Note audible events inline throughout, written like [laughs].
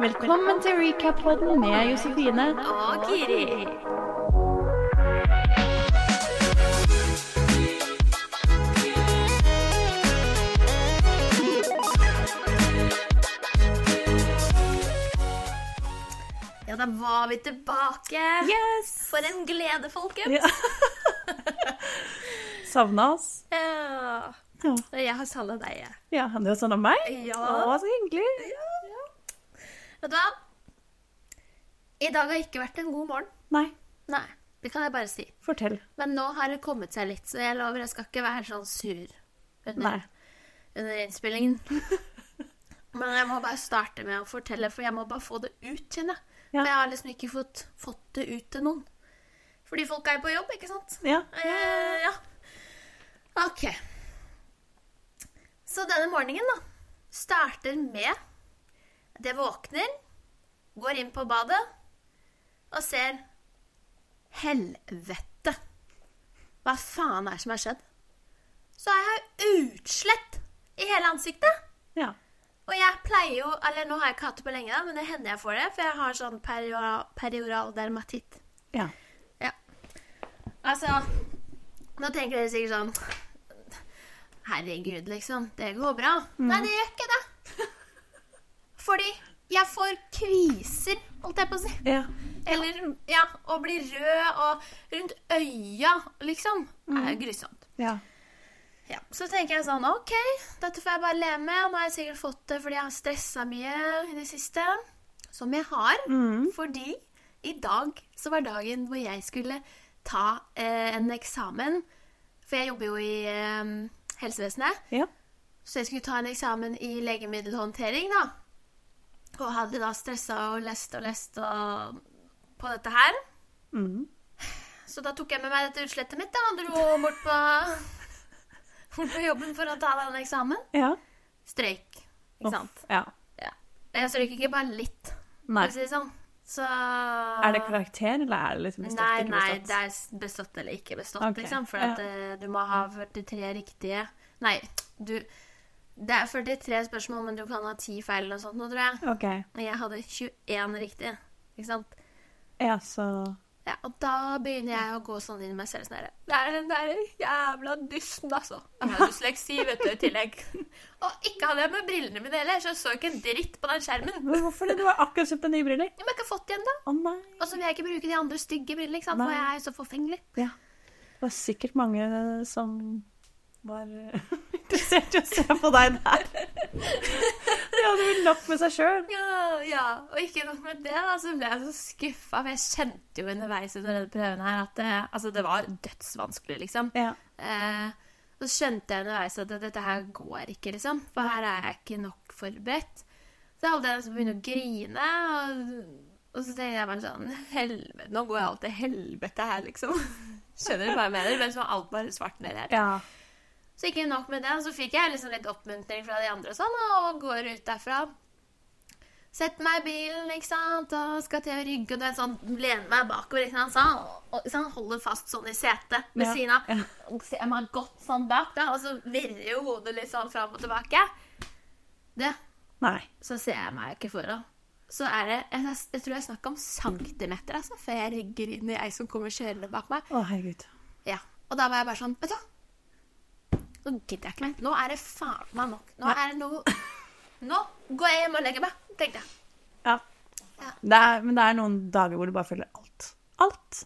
Velkommen til Recap-podden med Josefine. og Giri. Ja, da var vi tilbake. Yes! For en glede, folkens. Ja. Savna oss. Ja. Ja. Jeg har savna deg. jeg. ja, du har savna sånn meg? Ja. Å, så hyggelig. Vet du hva? I dag har ikke vært en god morgen. Nei, Nei, det kan jeg bare si. fortell. Men nå har det kommet seg litt, så jeg lover jeg skal ikke være sånn sur Nei. under, under innspillingen. [laughs] Men jeg må bare starte med å fortelle, for jeg må bare få det ut, kjenner jeg. Ja. For jeg har liksom ikke fått, fått det ut til noen. Fordi folk er jo på jobb, ikke sant? Ja. Eh, ja. Ok. Så denne morgenen, da, starter med at jeg våkner, går inn på badet og ser Helvete! Hva faen er det som har skjedd? Så har jeg utslett i hele ansiktet. ja. Og jeg pleier jo Eller nå har jeg ikke hatt det på lenge, da, men det hender jeg får det, for jeg har sånn perio- perioral dermatitt. Ja. Altså, nå tenker dere sikkert sånn Herregud, liksom. Det går bra. Nei, det gjør ikke det. Fordi jeg får kviser, holdt jeg på å si. Ja. Eller ja, og blir rød og rundt øya, liksom. Det er jo grusomt. Ja. Ja, Så tenker jeg sånn OK, dette får jeg bare leve med. Nå har jeg sikkert fått det fordi jeg har stressa mye i det siste. Som jeg har. Mm. Fordi i dag så var dagen hvor jeg skulle ta eh, en eksamen. For jeg jobber jo i eh, helsevesenet. Ja. Så jeg skulle ta en eksamen i legemiddelhåndtering, da. Og hadde da stressa og lest og lest og på dette her. Mm. Så da tok jeg med meg dette utslettet mitt da, og dro bort på, [laughs] bort på jobben for å ta den eksamen. ja. Strøyk. Ikke Uff, sant? Ja. Jeg strøyk ikke bare litt, Nei. for å si det sånn. Så Er det karakter, eller er det liksom bestått? Nei, ikke nei, bestått? det er s- bestått eller ikke bestått, Ok, liksom. For ja. at eh, du må ha 43 riktige Nei, du Det er 43 spørsmål, men du kan ha 10 feil eller noe sånt nå, tror jeg. OK. Og jeg hadde 21 riktige, ikke sant. Ja, så Ja, og da begynner jeg å gå sånn inn i meg selv sånn her, Det er den der jævla dysten, altså. Jeg har dysleksi, vet du, i tillegg. [laughs] Og ikke hadde jeg med brillene mine heller, så jeg så ikke en dritt på den skjermen. Men Hvorfor det? Du har akkurat kjøpt deg nye briller. Ja, Men jeg har ikke fått igjen, da. Å nei. Og så vil jeg ikke bruke de andre stygge brillene, ikke sant. For Nei. jeg er jo så forfengelig. Ja. Det var sikkert mange som var eh, [laughs] interessert i å se på deg der. De hadde vel nok med seg sjøl. Ja, ja. Og ikke nok med det, da, så ble jeg så skuffa. For jeg kjente jo underveis under denne prøven her at det, altså, det var dødsvanskelig, liksom. Ja. Eh, så skjønte jeg underveis at dette her går ikke, liksom. For her er jeg ikke nok forberedt. Så jeg holdt jeg liksom på å begynne å grine. Og, og så tenkte jeg bare sånn Helvete, nå går jeg alt til helvete her, liksom. [laughs] Skjønner du hva jeg mener? Men så var alt bare svart ned her. ja. Så ikke nok med det, så fikk jeg liksom litt oppmuntring fra de andre og sånn, og går ut derfra. Setter meg i bilen, ikke sant, og skal til å rygge, og du vet sånn, lener meg bakover, ikke sant, sånn, og- og sånn, holder fast sånn i setet ved Ja, siden av. ja. Og ser meg godt sånn bak, da, og så virrer jo hodet litt sånn fram og tilbake. Det, Nei. så ser jeg meg ikke foran. Så er det, jeg, jeg tror jeg snakker om centimeter, altså, før jeg rygger inn i ei som kommer kjørende bak meg. Å, herregud. Ja. Og da var jeg bare sånn Vet du hva? Nå gidder jeg ikke mer. Nå er det faen meg nok. Nå er det noe Nå går jeg hjem og legger meg, tenkte jeg. Ja. Ja. Det er, men det er noen dager hvor du bare føler alt. Alt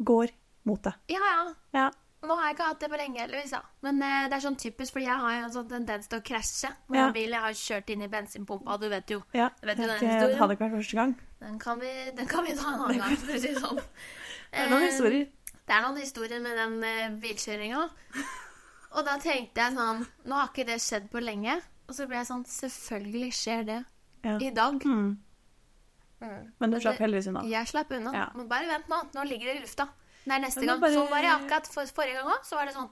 går mot deg. Ja, ja. Ja. Nå har jeg ikke hatt det på lenge, heldigvis. da. Men eh, det er sånn typisk, fordi jeg har jo en sånn tendens til å krasje. Med Ja. en bil jeg har kjørt inn i bensinpumpa, du vet jo. ja. Jeg vet jo den Det historien. Eh, hadde ikke vært første gang. Den kan vi, den kan vi ta en annen gang, for å si det sånn. Eh, Det er noen historier. Det er noen historier med den eh, bilkjøringa. Og da tenkte jeg sånn Nå har ikke det skjedd på lenge. Og så ble jeg sånn Selvfølgelig skjer det Ja. i dag. Mm. Men du Men slapp det- heldigvis unna. Jeg slapp unna. Ja. Men bare vent nå. Nå ligger det i lufta. Det er neste Men gang. bare- Sånn var det akkurat for, forrige gang òg. Så var det sånn.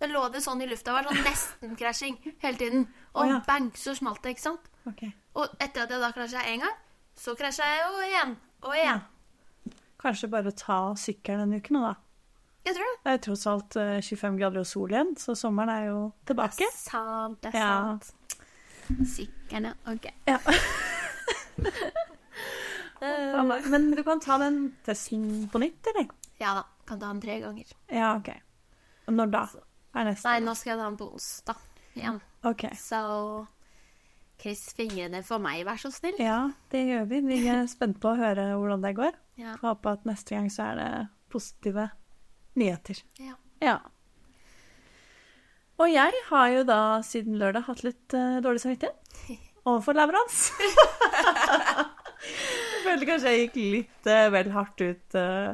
Da lå det sånn i lufta. Det var sånn nesten-krasjing hele tiden. Og Å, ja. bang, så smalt det, ikke sant? Ok. Og etter at jeg da krasja én gang, så krasja jeg jo igjen. Og igjen. Kanskje bare ta sykkelen denne uken, nå, da. Jeg tror det. Det er tross alt eh, 25 grader og sol igjen, så sommeren er jo tilbake. Sant, det er Ja. [laughs] sant. Sykkelen, ja. OK. Ja. Ja, nei, Men du kan ta den testen på nytt, eller? Ja da. Kan ta den tre ganger. Ja, OK. Når da? Er neste? Nei, nå skal jeg ta den på onsdag igjen. OK. Så kryss fingrene for meg, vær så snill. Ja, det gjør vi. Vi er spent på å høre hvordan det går. Ja. Får håpe at neste gang så er det positive nyheter. ja. Ja. Og jeg har jo da siden lørdag hatt litt eh, dårlig [laughs] samvittighet overfor leverans. jeg følte kanskje jeg gikk litt eh, vel hardt ut eh,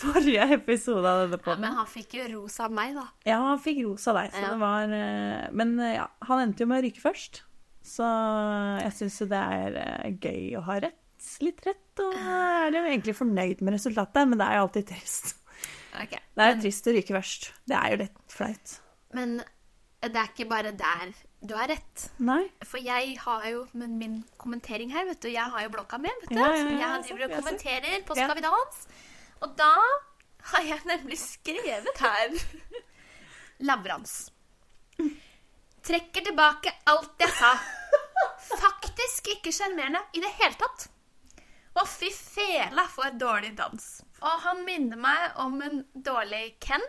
forrige episode av denne Ja, podden. Men han fikk jo ros av meg, da. Ja, han fikk ros av deg, så Ja. det var eh, Men eh, ja, han endte jo med å ryke først. Så jeg syns jo det er eh, gøy å ha rett. Litt rett, og er jo egentlig fornøyd med resultatet, men det er jo alltid trist. Ok. Det er jo trist å ryke først. Det er jo litt flaut. Men det er ikke bare der du har rett. Nei. For jeg har jo men min kommentering her, vet du. Jeg har jo blokka mi, vet du. Ja, ja, ja, som jeg jeg ser, driver og jeg ser. kommenterer på Ja. Skal vi dans. Og da har jeg nemlig skrevet her [laughs] Lavrans. Trekker tilbake alt jeg sa. Faktisk ikke sjarmerende i det hele tatt. Å, fy fela for dårlig dans. Og han minner meg om en dårlig Ken.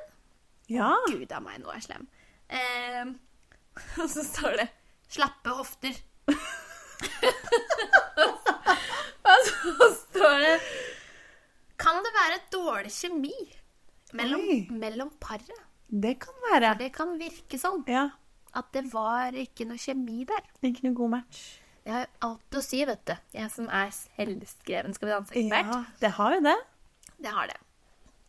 Ja. Gud av meg, nå er jeg slem. Eh, [laughs] og så står det 'slappe hofter'. [laughs] og så står det 'Kan det være dårlig kjemi mellom, Oi. mellom paret?' Det kan være. Det kan virke sånn Ja. at det var ikke noe kjemi der. Ikke noe god match. Jeg har alt å si, vet du. Jeg som er selvskreven Skal vi danse-ekspert. Ja, det har jo det. Det har det.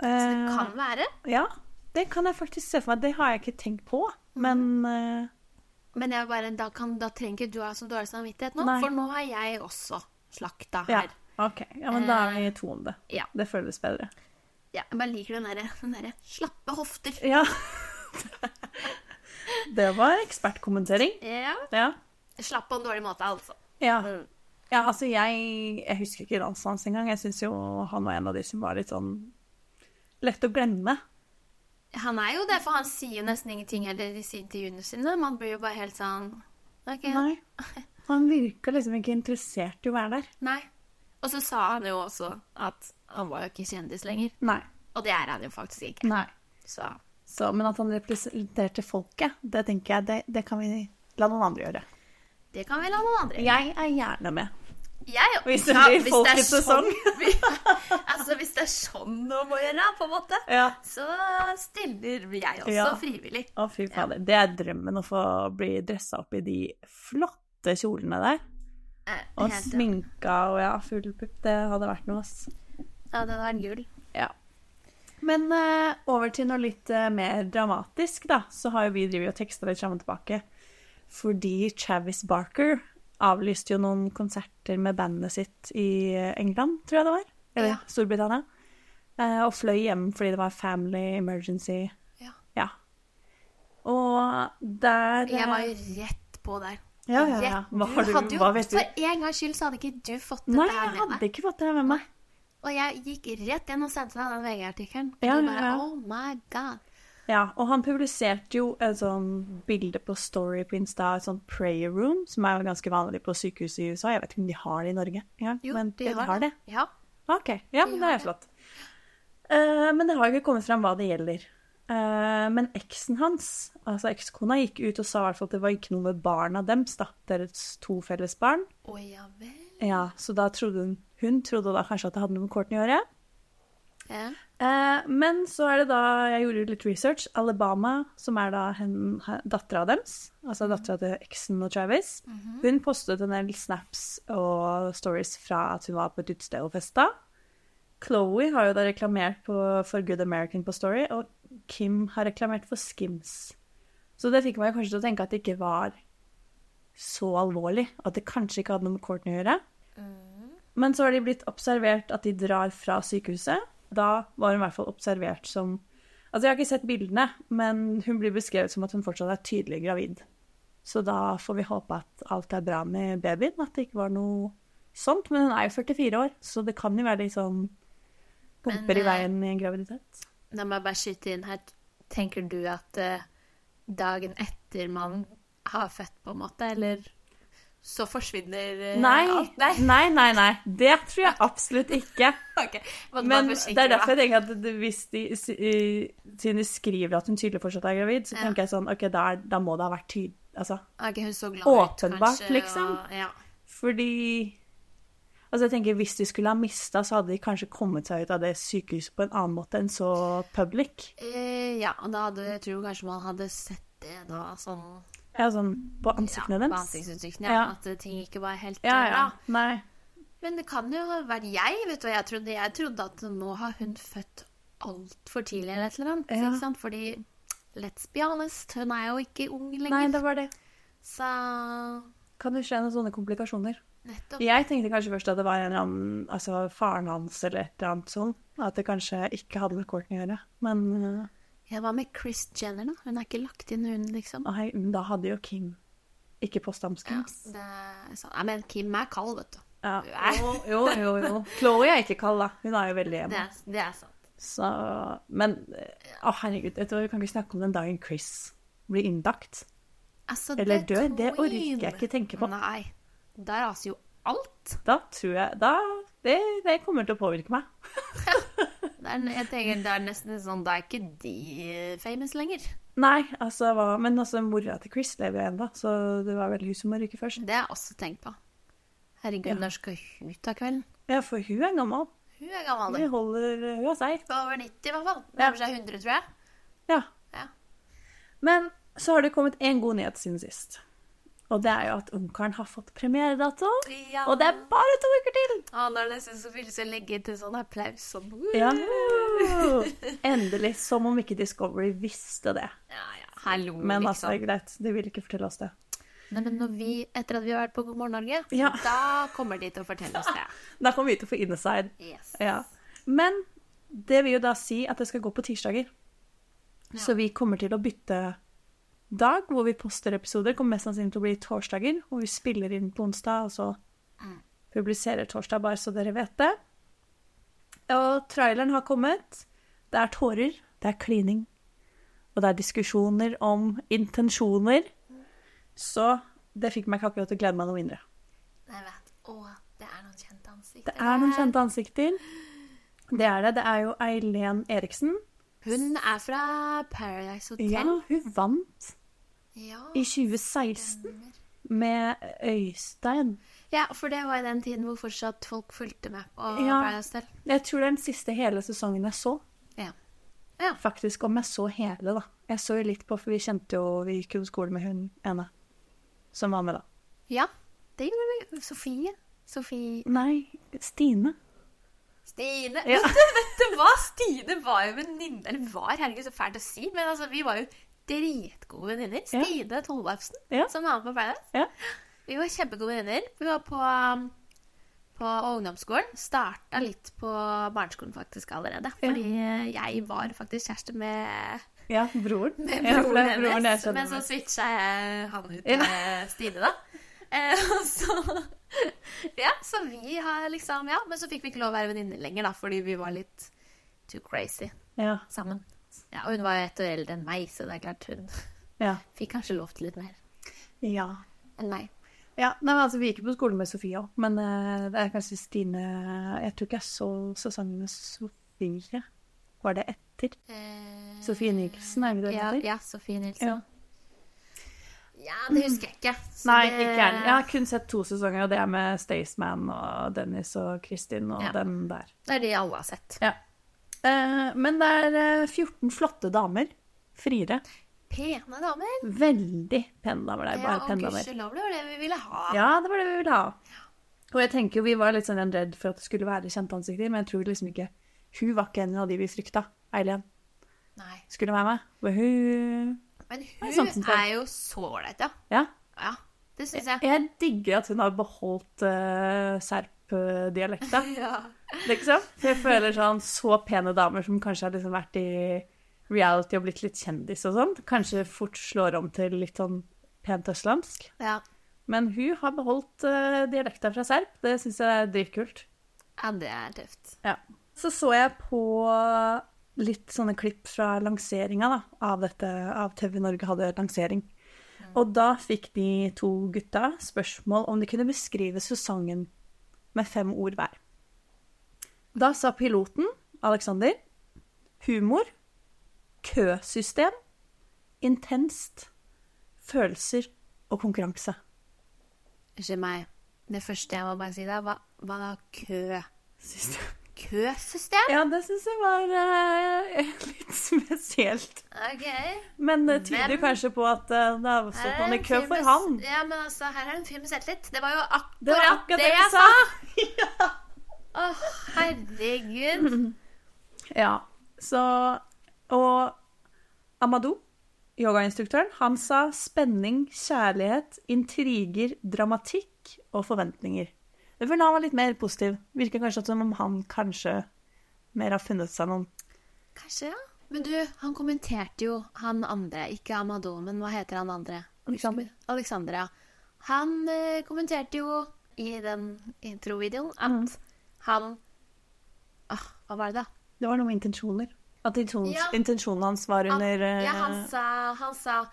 Eh, Det kan være. Ja, det kan jeg faktisk se for meg. Det har jeg ikke tenkt på, men eh, Men jeg bare, da, kan, da trenger ikke du ha så dårlig samvittighet nå, Nei. for nå har jeg også slakta ja. her. OK. Ja, men da er vi to om det. ja. Det føles bedre. Ja, jeg bare liker den derre den derre slappe hofter. Ja. [laughs] Det var ekspertkommentering. Ja. Ja. Slapp på en dårlig måte, altså. Ja, ja altså jeg, jeg husker ikke dansen hans engang. Jeg syns jo han var en av de som var litt sånn lett å glemme. Han er jo det, for han sier jo nesten ingenting heller i sin- til juniorene sine. Man blir jo bare helt sånn Ok. Nei. Nei. Han virka liksom ikke interessert i å være der. Og så sa han jo også at han var jo ikke kjendis lenger. Nei. Og det er han jo faktisk ikke. Nei. Så Så, men at han representerte folket, det tenker jeg, det, det kan vi la noen andre gjøre. det kan vi la noen andre Jeg er gjerne med. Jeg, Hvis det blir hvis folk det er i sesong. sånn- [laughs] altså, hvis det er sånn om å gjøre, på en måte, Ja. så stiller jeg også Ja. frivillig. Å, fy fader. Det er drømmen å få bli dressa opp i de flotte kjolene der. Eh, Og helt- sminka og ja, full pupp. Det hadde vært noe, ass. Ja, den er gull. Ja. Men eh, over til noe litt eh, mer dramatisk, da. Så har jo vi drevet og teksta litt fram og tilbake. Fordi Travis Barker avlyste jo noen konserter med bandet sitt i eh, England, tror jeg det var. Eller Ja. Storbritannia. Eh, og fløy hjem fordi det var family emergency. Ja. Ja. Og der eh, Jeg var jo rett på der. Ja, ja, ja. Rett- Hva, har du, hadde jo, hva vet du? For en gangs skyld så hadde ikke du fått Nei, dette her jeg med hadde deg. ikke fått det her med meg. Og jeg gikk rett inn og sendte deg den VG-artikkelen. Og Ja, du ja, bare, ja. Oh my god. Ja, og han publiserte jo et sånn bilde på Story på Insta, et sånn prayer room, som er jo ganske vanlig på sykehus i USA. Jeg vet ikke om de har det i Norge engang, Jo, men de har det. Ah, Ja. Ok, ja, men det har er det. flott. Eh, men det har jo ikke kommet fram hva det gjelder. Eh, men eksen hans, altså ekskona, gikk ut og sa i hvert fall at det var ikke noe med barna deres, da. Deres to felles barn. Å ja vel. Ja, så da trodde hun, hun trodde da kanskje at det hadde noe med Courtney å gjøre. Ja. Eh, men så er det da Jeg gjorde litt research. Alabama, som er da hen- he- dattera deres, altså dattera til eksen og Travis, hun postet en del snaps og stories fra at hun var på et utested og festa. Chloé har jo da reklamert på, for Good American på Story, og Kim har reklamert for Skims. Så det fikk meg kanskje til å tenke at det ikke var så alvorlig. At det kanskje ikke hadde noe med Courtney å gjøre. Men så har de blitt observert at de drar fra sykehuset. Da var hun i hvert fall observert som Altså, jeg har ikke sett bildene, men hun blir beskrevet som at hun fortsatt er tydelig gravid. Så da får vi håpe at alt er bra med babyen, at det ikke var noe sånt. Men hun er jo 44 år, så det kan jo være litt sånn Men, pumper i eh, veien i en graviditet. Da må jeg bare skyte inn her. Tenker du at eh, dagen etter man har født, på en måte, eller så forsvinner eh, Nei, alt. nei, Nei. [laughs] nei, nei. Det tror jeg absolutt ikke. ok. Måtte Men bare det forsikre er derfor jeg meg. tenker at det- hvis de, s- i- siden de skriver at hun tydelig fortsatt er gravid, så Ja. tenker jeg sånn Ok, da, er- da må det ha vært tydelig. Altså, Ok, hun så glad Åpenbart, kanskje, liksom. Og, ja. fordi Altså, jeg tenker Hvis de skulle ha mista, så hadde de kanskje kommet seg ut av det sykehuset på en annen måte enn så public. Eh, ja, og da hadde jeg tror kanskje man hadde sett det da, sånn Ja, sånn på ja, ansiktene på deres. ansiktsuttrykkene. Ja. Ja. At eh, ting ikke var helt Ja, eh, ja. Nei. bra. Men det kan jo ha vært jeg, vet du hva jeg trodde? Jeg trodde at nå har hun født altfor tidlig eller et eller annet. Ja. Ikke sant? Fordi let's be honest, hun er jo ikke ung lenger. Nei, det var det. Så Kan det skje noen sånne komplikasjoner? nettopp. Jeg tenkte kanskje først at det var en eller annen, altså faren hans eller et eller annet sånn. At det kanskje ikke hadde med Courtney å gjøre. Men øh, Ja, hva med Chris Jenner, da? Hun er ikke lagt inn, hun, liksom. Nei, men da hadde jo Kim ikke Ja, postdamskrims. det er sant. Nei, men Kim er kald, vet du. Ja. Nei. Jo, jo, jo. Chloé er ikke kald, da. Hun er jo veldig Det hjemme. er, det er sant. Så, men eh, å, herregud, vet du hva, vi kan ikke snakke om den dagen Chris blir innlagt. Altså, Eller dør. Det tror orker jeg ikke tenke på. Nei. Der raser jo alt. Da tror jeg da, det, det kommer til å påvirke meg. Det er, jeg tenker, det er nesten sånn Da er ikke de famous lenger. Nei, altså hva Men altså, mora til Chris lever jo ennå, så det var vel hun som må ryke først. Det har jeg også tenkt på. Herregud, Ja. når skal hun ta kvelden? Ja, for hun er gammel. Hun er gammel. Hun du. holder eh, Hun er seig. Hun er Over 90, i hvert fall. Ja. Nærmer seg 100, tror jeg. Ja. Ja. Men så har det kommet én god nyhet siden sist. Og det er jo at Ungkaren har fått premieredato. Ja. Og det er bare to uker til! Å, nå er det nesten så fylles jeg legger til sånn applaus sånn. Ja. Endelig. Som om ikke Discovery visste det. Ja, ja. Hallo, Men altså, liksom. greit, de vil ikke fortelle oss det. Nei, men når vi, etter at vi har vært på God morgen Norge, Ja. da kommer de til å fortelle oss det. Da kommer vi til å få inside. [laughs] Yes. Ja. Men det vil jo da si at det skal gå på tirsdager. Ja. Så vi kommer til å bytte dag hvor vi poster episoder. Kommer mest sannsynlig til å bli torsdager, hvor vi spiller inn på onsdag, og så Mm. publiserer torsdag, bare så dere vet det. Og traileren har kommet. Det er tårer, det er klining, og det er diskusjoner om intensjoner. Så det fikk meg ikke akkurat til å glede meg noe mindre. Jeg vet. Å, det er noen kjente ansikter. Det er noen kjente ansikter. Det er det. Det er jo Eileen Eriksen. Hun er fra Paradise Ja, Hotel. hun vant Ja. i 2016 med Øystein. ja, for det var i den tiden hvor fortsatt folk fulgte med på Ja. Paradise Hotel. Jeg tror det er den siste hele sesongen jeg så. Ja. Faktisk om jeg så hele, da. Jeg så jo litt på, for vi kjente jo Vi gikk jo på skole med hun ene som var med, da. ja, det gjorde vi. Sofie. Sofie. Nei, Stine. Stine. Ja. Vet, du, vet du hva? Stine var jo venninne Eller var, herregud, så fælt å si. Men altså, vi var jo dritgode venninner. Ja. Stine Tollefsen, Ja. som var med på Paradise. Ja. Vi var kjempegode venninner. Vi var på, um, på ungdomsskolen. Starta litt på barneskolen faktisk allerede. Ja. Fordi eh, jeg var faktisk kjæreste med, Ja, broren. med Ja, for Eh, broren det er hennes. broren jeg kjenner men så med. switcha jeg han ut Ja. med Stine, da. Eh, [laughs] og så Ja, så vi har liksom Ja, men så fikk vi ikke lov å være venninner lenger, da, fordi vi var litt too crazy Ja, sammen. Ja, og hun var jo ett år eldre enn meg, så det er klart hun [laughs] ja. fikk kanskje lov til litt mer Ja. enn meg. ja. Nei, men altså, vi gikk jo på skole med Sofie òg, men eh, det er kanskje Stine Jeg tror ikke jeg så sesongen med Sofie. Var det etter? Eh, Sofie Nielsen, er vi det ja, heter? ja, Sofie Ja. Nilsen. Ja. det husker jeg ikke. så Nei, det- ikke jeg. Jeg har kun sett to sesonger, og det er med Staysman og Dennis og Kristin og Ja. den der. Det er de alle har sett. Ja. Eh, men det er eh, 14 flotte damer. Friere. Pene damer. Veldig pene damer. Det er bare og pene damer. gudskjelov, det var det vi ville ha. Ja, det var det vi ville ha. Og jeg tenker jo, Vi var litt sånn redd for at det skulle være kjente ansikter, men jeg tror liksom ikke Hun var ikke en av de vi frykta. Eileen Nei. skulle være med. Men hun Men er sant som hun faen. er jo så ålreit, ja. Ja. ja. Det syns jeg. Jeg digger at hun har beholdt uh, serp-dialekta. [laughs] Ja. Liksom. For jeg føler sånn så pene damer som kanskje har liksom vært i reality og blitt litt kjendis og sånn, kanskje fort slår om til litt sånn pent østlandsk. ja. Men hun har beholdt eh, dialekta fra serb. Det syns jeg er dritkult. Ja, det er tøft. Ja. Så så jeg på litt sånne klipp fra lanseringa da, av dette, av TV Norge hadde lansering. Og da fikk de to gutta spørsmål om de kunne beskrive sesongen med fem ord hver. Da sa piloten, Alexander, humor, køsystem, intenst, følelser og konkurranse. Unnskyld meg. Det første jeg må bare si der, var, var da kø. Køsystem? Ja, det syns jeg var eh, litt spesielt. Ok. Men det tyder Men- kanskje på at eh, det har Her stått er noen i en kø fyr med- for han. Ja, men altså, her er en fyr med selvtillit. Det var jo akkurat Det det, var akkurat det jeg vi sa! sa. Å, herregud. Ja. Så Og Amadou, yogainstruktøren, han sa spenning, kjærlighet, intriger, dramatikk og forventninger. Men han var litt mer positiv. Virker kanskje som om han kanskje mer har funnet seg noen. [clears throat] Kanskje, ja. Men du, han kommenterte jo han andre, ikke Amadou, men hva heter han andre? Alexander. Alexander, ja. Han eh, kommenterte jo i den introvideoen at Mm. han ah, Hva var det, da? Det var noe med intensjoner. At intensjon- Ja. intensjonen hans var Han- under eh, Ja, han sa, han sa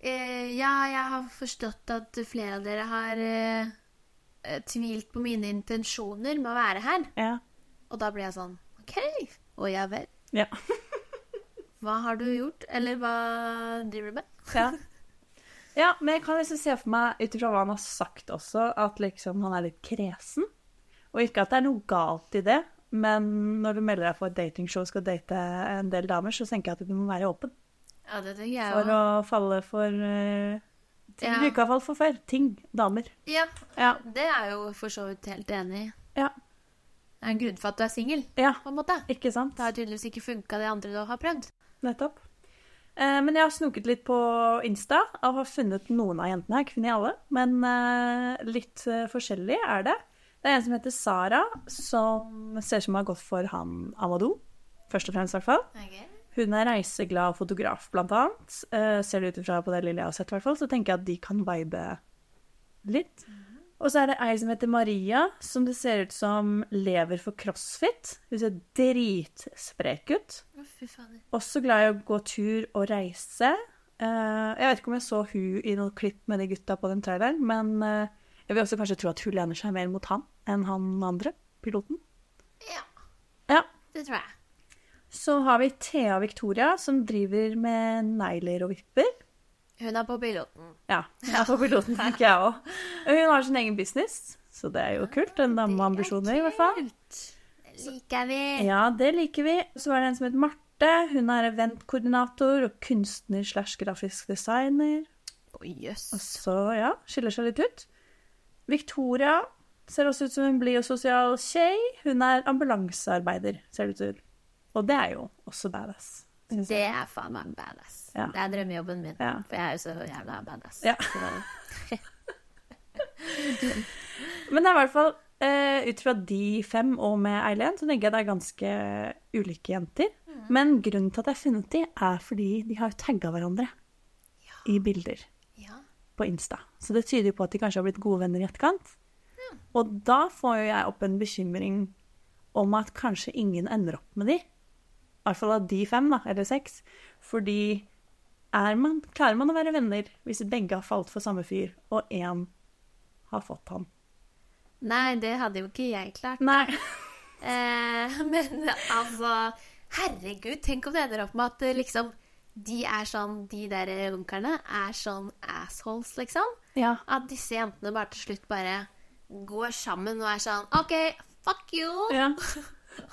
eh, Ja, jeg har forstått at flere av dere har eh, eh, tvilt på mine intensjoner med å være her. ja. Og da ble jeg sånn OK. Å ja vel. Ja. Hva har du gjort? Eller hva driver du med? Ja. ja, men jeg kan liksom se for meg, ut ifra hva han har sagt også, at liksom han er litt kresen. Og ikke at det er noe galt i det, men når du melder deg for et datingshow og skal date en del damer, så tenker jeg at du må være åpen [laughs] Ja, det tenker jeg for også. å falle for eh, ting Ja. du ikke har falt for før. Ting. Damer. Ja, Ja. det er jeg jo for så vidt helt enig i. Ja. Det er en grunn for at du er singel, ja. på en måte. Ikke sant? Det har tydeligvis ikke funka, det andre du har prøvd. Nettopp. Eh, men jeg har snoket litt på Insta og har funnet noen av jentene her, kvinner i alle. Men eh, litt eh, forskjellig er det. Det er en som heter Sara, som ser ut som hun har gått for han Amadou. Først og fremst, i hvert fall. Hun er reiseglad fotograf, blant annet. Eh, ser det ut ifra på det lille jeg har sett, i hvert fall, så tenker jeg at de kan vibe litt. Og så er det ei som heter Maria, som det ser ut som lever for crossfit. Hun ser dritsprek ut Å, fy fader. også glad i å gå tur og reise. Eh, jeg vet ikke om jeg så hun i noen klipp med de gutta på den traileren, men eh, jeg vil også kanskje tro at hun lener seg mer mot han enn han andre, piloten. Ja, Ja. det tror jeg. Så har vi Thea Victoria, som driver med negler og vipper. Hun er på piloten. Ja, hun er på piloten, tenker jeg òg. Hun har sin egen business, så det er jo kult. En dame med ambisjoner, i hvert fall. Det liker vi. Ja, det liker vi. Så var det en som het Marte. Hun er eventkoordinator og kunstner slash grafisk designer. Å, jøss. Og så, ja, skiller seg litt ut. Victoria ser også ut som en blid og sosial tjei. Hun er ambulansearbeider, ser det ut til. Og det er jo også badass. synes jeg. Det er faen meg badass. Ja. Det er drømmejobben min. Ja. For jeg er jo så jævla badass. Ja. Så- Men det er i hvert fall eh, ut fra de fem og med Eileen, så tenker jeg det er ganske ulike jenter. Men grunnen til at jeg har funnet de, er fordi de har tagga hverandre i bilder. ja. på Insta. Så det tyder jo på at de kanskje har blitt gode venner i etterkant. Og da får jo jeg opp en bekymring om at kanskje ingen ender opp med de. I hvert fall av de fem, da, eller seks. Fordi er man, klarer man å være venner hvis begge har falt for samme fyr, og én har fått han? Nei, det hadde jo ikke jeg klart. Nei. Eh, [laughs] men altså Herregud, tenk om det ender opp med at eh, liksom de er sånn, de der runkerne er sånn assholes, liksom. Ja. At disse jentene bare til slutt bare går sammen og er sånn OK, fuck you! ja.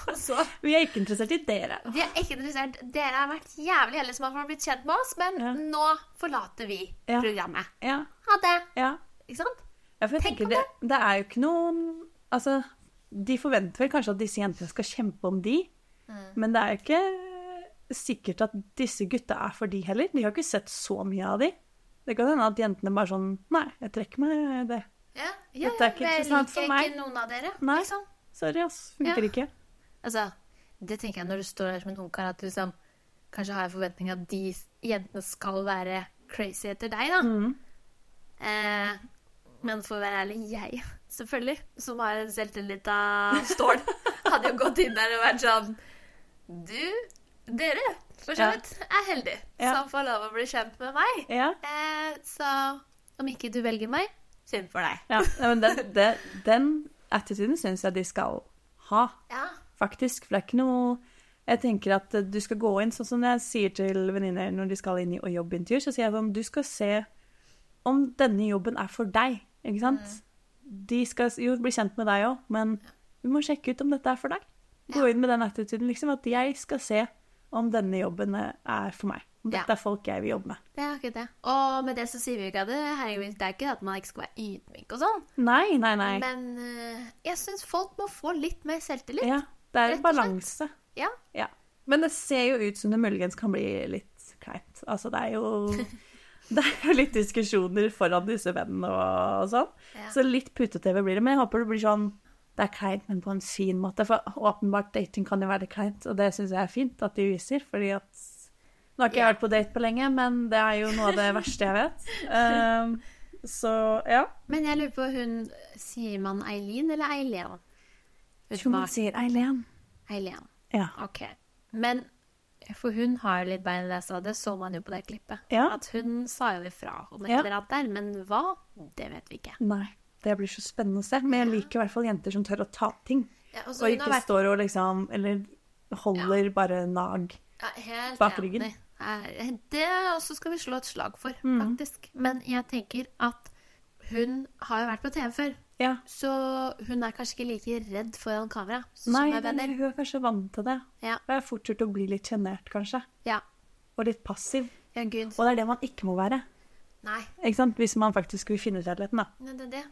Og så Vi er ikke interessert i dere. Vi er ikke interessert. Dere har vært jævlig heldige som har blitt kjent med oss, men Ja. nå forlater vi Ja. programmet. Ja. Ha det! ja. Ikke sant? Ja, for jeg Tenk tenker på det, det er jo ikke noen Altså, de forventer vel kanskje at disse jentene skal kjempe om de, men det er jo ikke sikkert at disse gutta er for de heller. De har ikke sett så mye av de. Det kan hende at jentene bare sånn Nei, jeg trekker meg det. Ja, ja, Dette er ikke jeg interessant for meg. Liker ikke noen av dere. Nei. Liksom. Sorry, ass. Funker Ja. ikke. Altså, det tenker jeg når du står der som en ungkar, at du liksom kanskje har en forventning at de jentene skal være crazy etter deg, da. Mm. Eh, men for å være ærlig, jeg, selvfølgelig, som har en selvtillit [laughs] av stål, hadde jo gått inn der og vært sånn Du, dere, for så vidt er heldig Ja. som får lov å bli kjent med meg. Ja. Eh, så om ikke du velger meg, synd for deg. ja. Nei, men den, det- den attituden syns jeg de skal ha, Ja. faktisk. For det er ikke noe Jeg tenker at eh, du skal gå inn sånn som jeg sier til venninner når de skal inn i og jobbintervjuer, så sier jeg sånn Du skal se om denne jobben er for deg, ikke sant? Mm. De skal jo bli kjent med deg òg, men vi må sjekke ut om dette er for deg. Gå inn med den attituden, liksom. At jeg skal se om denne jobben eh, er for meg. Om Ja. dette er folk jeg vil jobbe med. Det er akkurat det. Og med det så sier vi jo ikke at det, herregud, det er ikke at man ikke skal være ydmyk og sånn, Nei, nei, nei. men eh, jeg syns folk må få litt mer selvtillit. Ja, det er Rett og slett. en balanse. Ja. Ja. Men det ser jo ut som det muligens kan bli litt kleint. Altså, det er jo [laughs] Det er jo litt diskusjoner foran disse vennene og, og sånn. Ja. Så litt pute-TV blir det. Men jeg håper det blir sånn Det er kleint, men på en fin måte. For åpenbart, dating kan jo være kleint, og det syns jeg er fint at de viser. fordi at Nå har ikke jeg Ja. vært på date på lenge, men det er jo noe av det verste jeg vet. Um, så ja. Men jeg lurer på hun Sier man Eileen eller Eileen? Vet du Tror man hva? sier Eileen. Eileen. Ja. Ok. Men for hun har jo litt bein i nesa, det så man jo på det klippet. Ja. At hun sa jo ifra om et Ja. eller annet der, men hva? Det vet vi ikke. Nei. Det blir så spennende å se. Men jeg liker i hvert fall jenter som tør å ta opp ting. altså, Og ikke står og liksom Eller holder bare nag. Ja, helt Bak enig. ryggen. Mm. Eh, Det også skal vi slå et slag for, faktisk. Men jeg tenker at hun har jo vært på TV før, Ja. så hun er kanskje ikke like redd foran kamera som Nei, er venner. men hun er kanskje vant til det. Ja. Og er fort gjort å bli litt sjenert, kanskje. Ja. Og litt passiv. ja, gud. Og det er det man ikke må være. Nei, Ikke sant? Hvis man faktisk skulle finne kjærligheten, da. nei, det er det.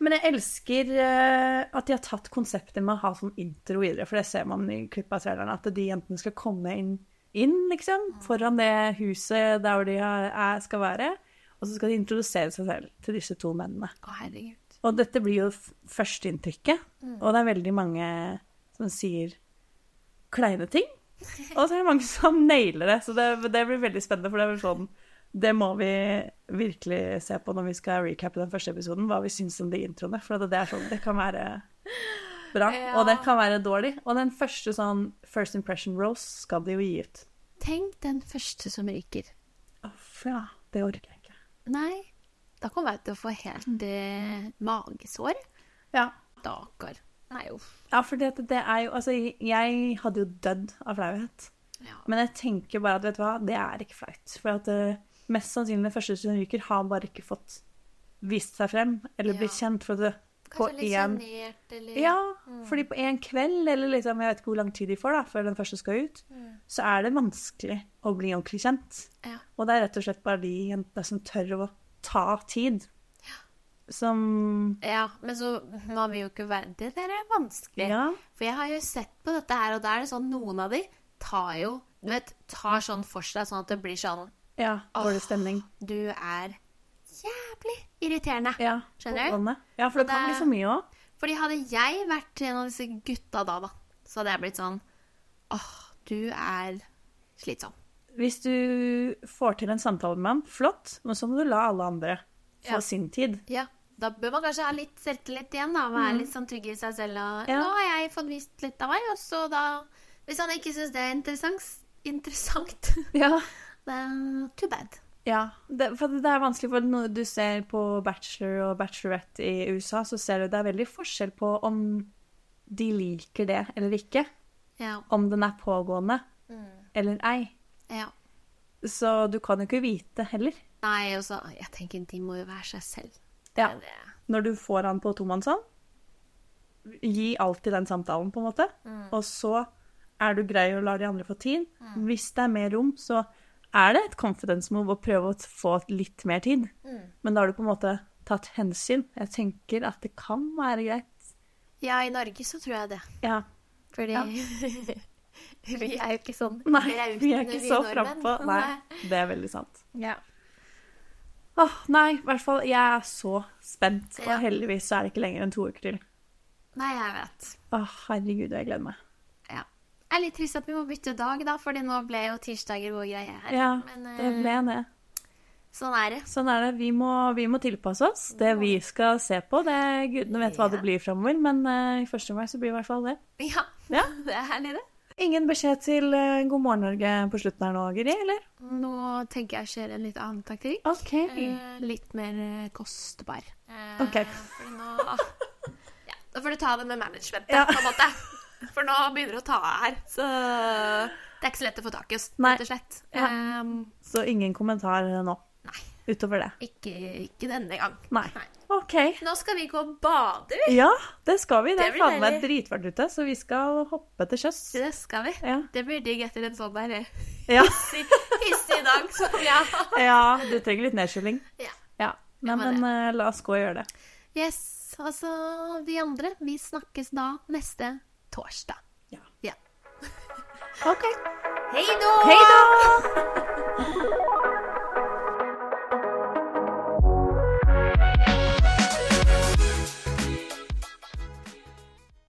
Men jeg elsker eh, at de har tatt konseptet med å ha sånn intro videre, for det ser man i klippet av traileren, at de jentene skal komme inn, inn liksom, foran det huset der hvor de har- er, skal være, og så skal de introdusere seg selv til disse to mennene. Å, herregud. Og dette blir jo f- førsteinntrykket. Og det er veldig mange som sier kleine ting. Og så er det mange som nailer det. Så det, det blir veldig spennende, for det er vel sånn Det må vi virkelig se på når vi skal recappe den første episoden, hva vi syns om de introene. For det, det er sånn Det kan være bra, Ja. og det kan være dårlig. Og den første sånn First Impression Rose skal de jo gi ut. Tenk den første som ryker. Uff, ja. Det orker jeg ikke. Nei, da kommer jeg til å få helt eh, magesår. Ja. Stakkar. Nei, uff. Ja, for det, det er jo Altså, jeg hadde jo dødd av flauhet. Ja. Men jeg tenker bare at vet du hva, det er ikke flaut. For at eh, mest sannsynlig den første som ryker, har bare ikke fått vist seg frem eller Ja. blitt kjent. For at det, på Kanskje litt Mm. én sjenert eller Ja, fordi på én kveld, eller liksom, jeg vet ikke hvor lang tid de får da, før den første skal ut, Mm. så er det vanskelig å bli ordentlig kjent. Ja. Og det er rett og slett bare de jentene som tør å ta tid, som Ja, men så man vil jo ikke være Det der er vanskelig. Ja. For jeg har jo sett på dette her, og da er det sånn noen av de tar jo Du vet, tar sånn for seg sånn at det blir sånn Ja, dårlig stemning. Du er jævlig irriterende. Ja, Skjønner du? pågående. Ja, for det, Og kan det- bli for mye òg. Fordi hadde jeg vært en av disse gutta da, da, så hadde jeg blitt sånn Åh, du er slitsom. Hvis du får til en samtale med ham, flott, men så må du la alle andre få Ja. sin tid. Ja. Da bør man kanskje ha litt selvtillit igjen, da. Være litt sånn trygg i seg selv. Og Mm. Ja. nå har jeg fått vist litt av meg, og så da Hvis han ikke syns det er interessant, interessant [laughs] Ja. det er too bad. det, for det er vanskelig, for når du ser på Bachelor og Bachelorette i USA, så ser du det er veldig forskjell på om de liker det eller ikke. Ja. Om den er pågående eller ei. ja. Så du kan jo ikke vite heller. Nei, og så Jeg tenker de må jo være seg selv. eh, Ja. Det er det. Når du får han på tomannshånd, gi alltid den samtalen, på en måte. Mm. Og så er du grei og lar de andre få tid. Hvis det er mer rom, så er det et confidence move å prøve å t- få litt mer tid. Mm. Men da har du på en måte tatt hensyn. Jeg tenker at det kan være greit. Ja, i Norge så tror jeg det. Ja. Fordi Ja. [laughs] vi er jo ikke sånn Nei, rautende, vi er ikke så nordmenn. frampå. Nei, det er veldig sant. Ja. Åh, nei, i hvert fall, jeg er så spent. Ja. Og heldigvis så er det ikke lenger enn to uker til. Nei, jeg vet. Åh, herregud, jeg gleder meg. Ja. Det er litt trist at vi må bytte dag, da, Fordi nå ble jo tirsdager vår greie her. Ja, Men eh, det ble det. sånn er det. [laughs] Sånn er det. Vi må, vi må tilpasse oss. Det vi skal se på, det gudene vet hva det blir framover, men eh, i første omgang så blir det i hvert fall det. Ja, Ja. det er herlig, det. Ingen beskjed til eh, God morgen Norge på slutten her nå, Guri, eller? Nå tenker jeg skjer en litt annen taktikk. OK. Eh, litt mer eh, kostbar. Eh, Mm. Ok. fordi nå, ja, da får du ta det med managementet, Ja. på en måte. For nå begynner det å ta av her. Så det er ikke så lett å få tak i oss, Nei. rett og slett. Nei. Ehm, Så ingen kommentar eh, nå nei. utover det. Ikke, ikke denne gang. Nei. OK. Nå skal vi gå og bade, vi. Ja, det skal vi. Det Det er blir faen meg deilig. dritvarmt ute, så vi skal hoppe til sjøs. Det skal vi. Ja. Det blir digg etter en sånn der [laughs] eh, Ja. hissig hissig dag som vi har hatt. [laughs] ja, du trenger litt nedkjøling. Ja. Ja. Nei, må men eh, la oss gå og gjøre det. Yes. Altså, vi andre, vi snakkes da neste torsdag. Ja. Ja. OK. Hei då! Hei da!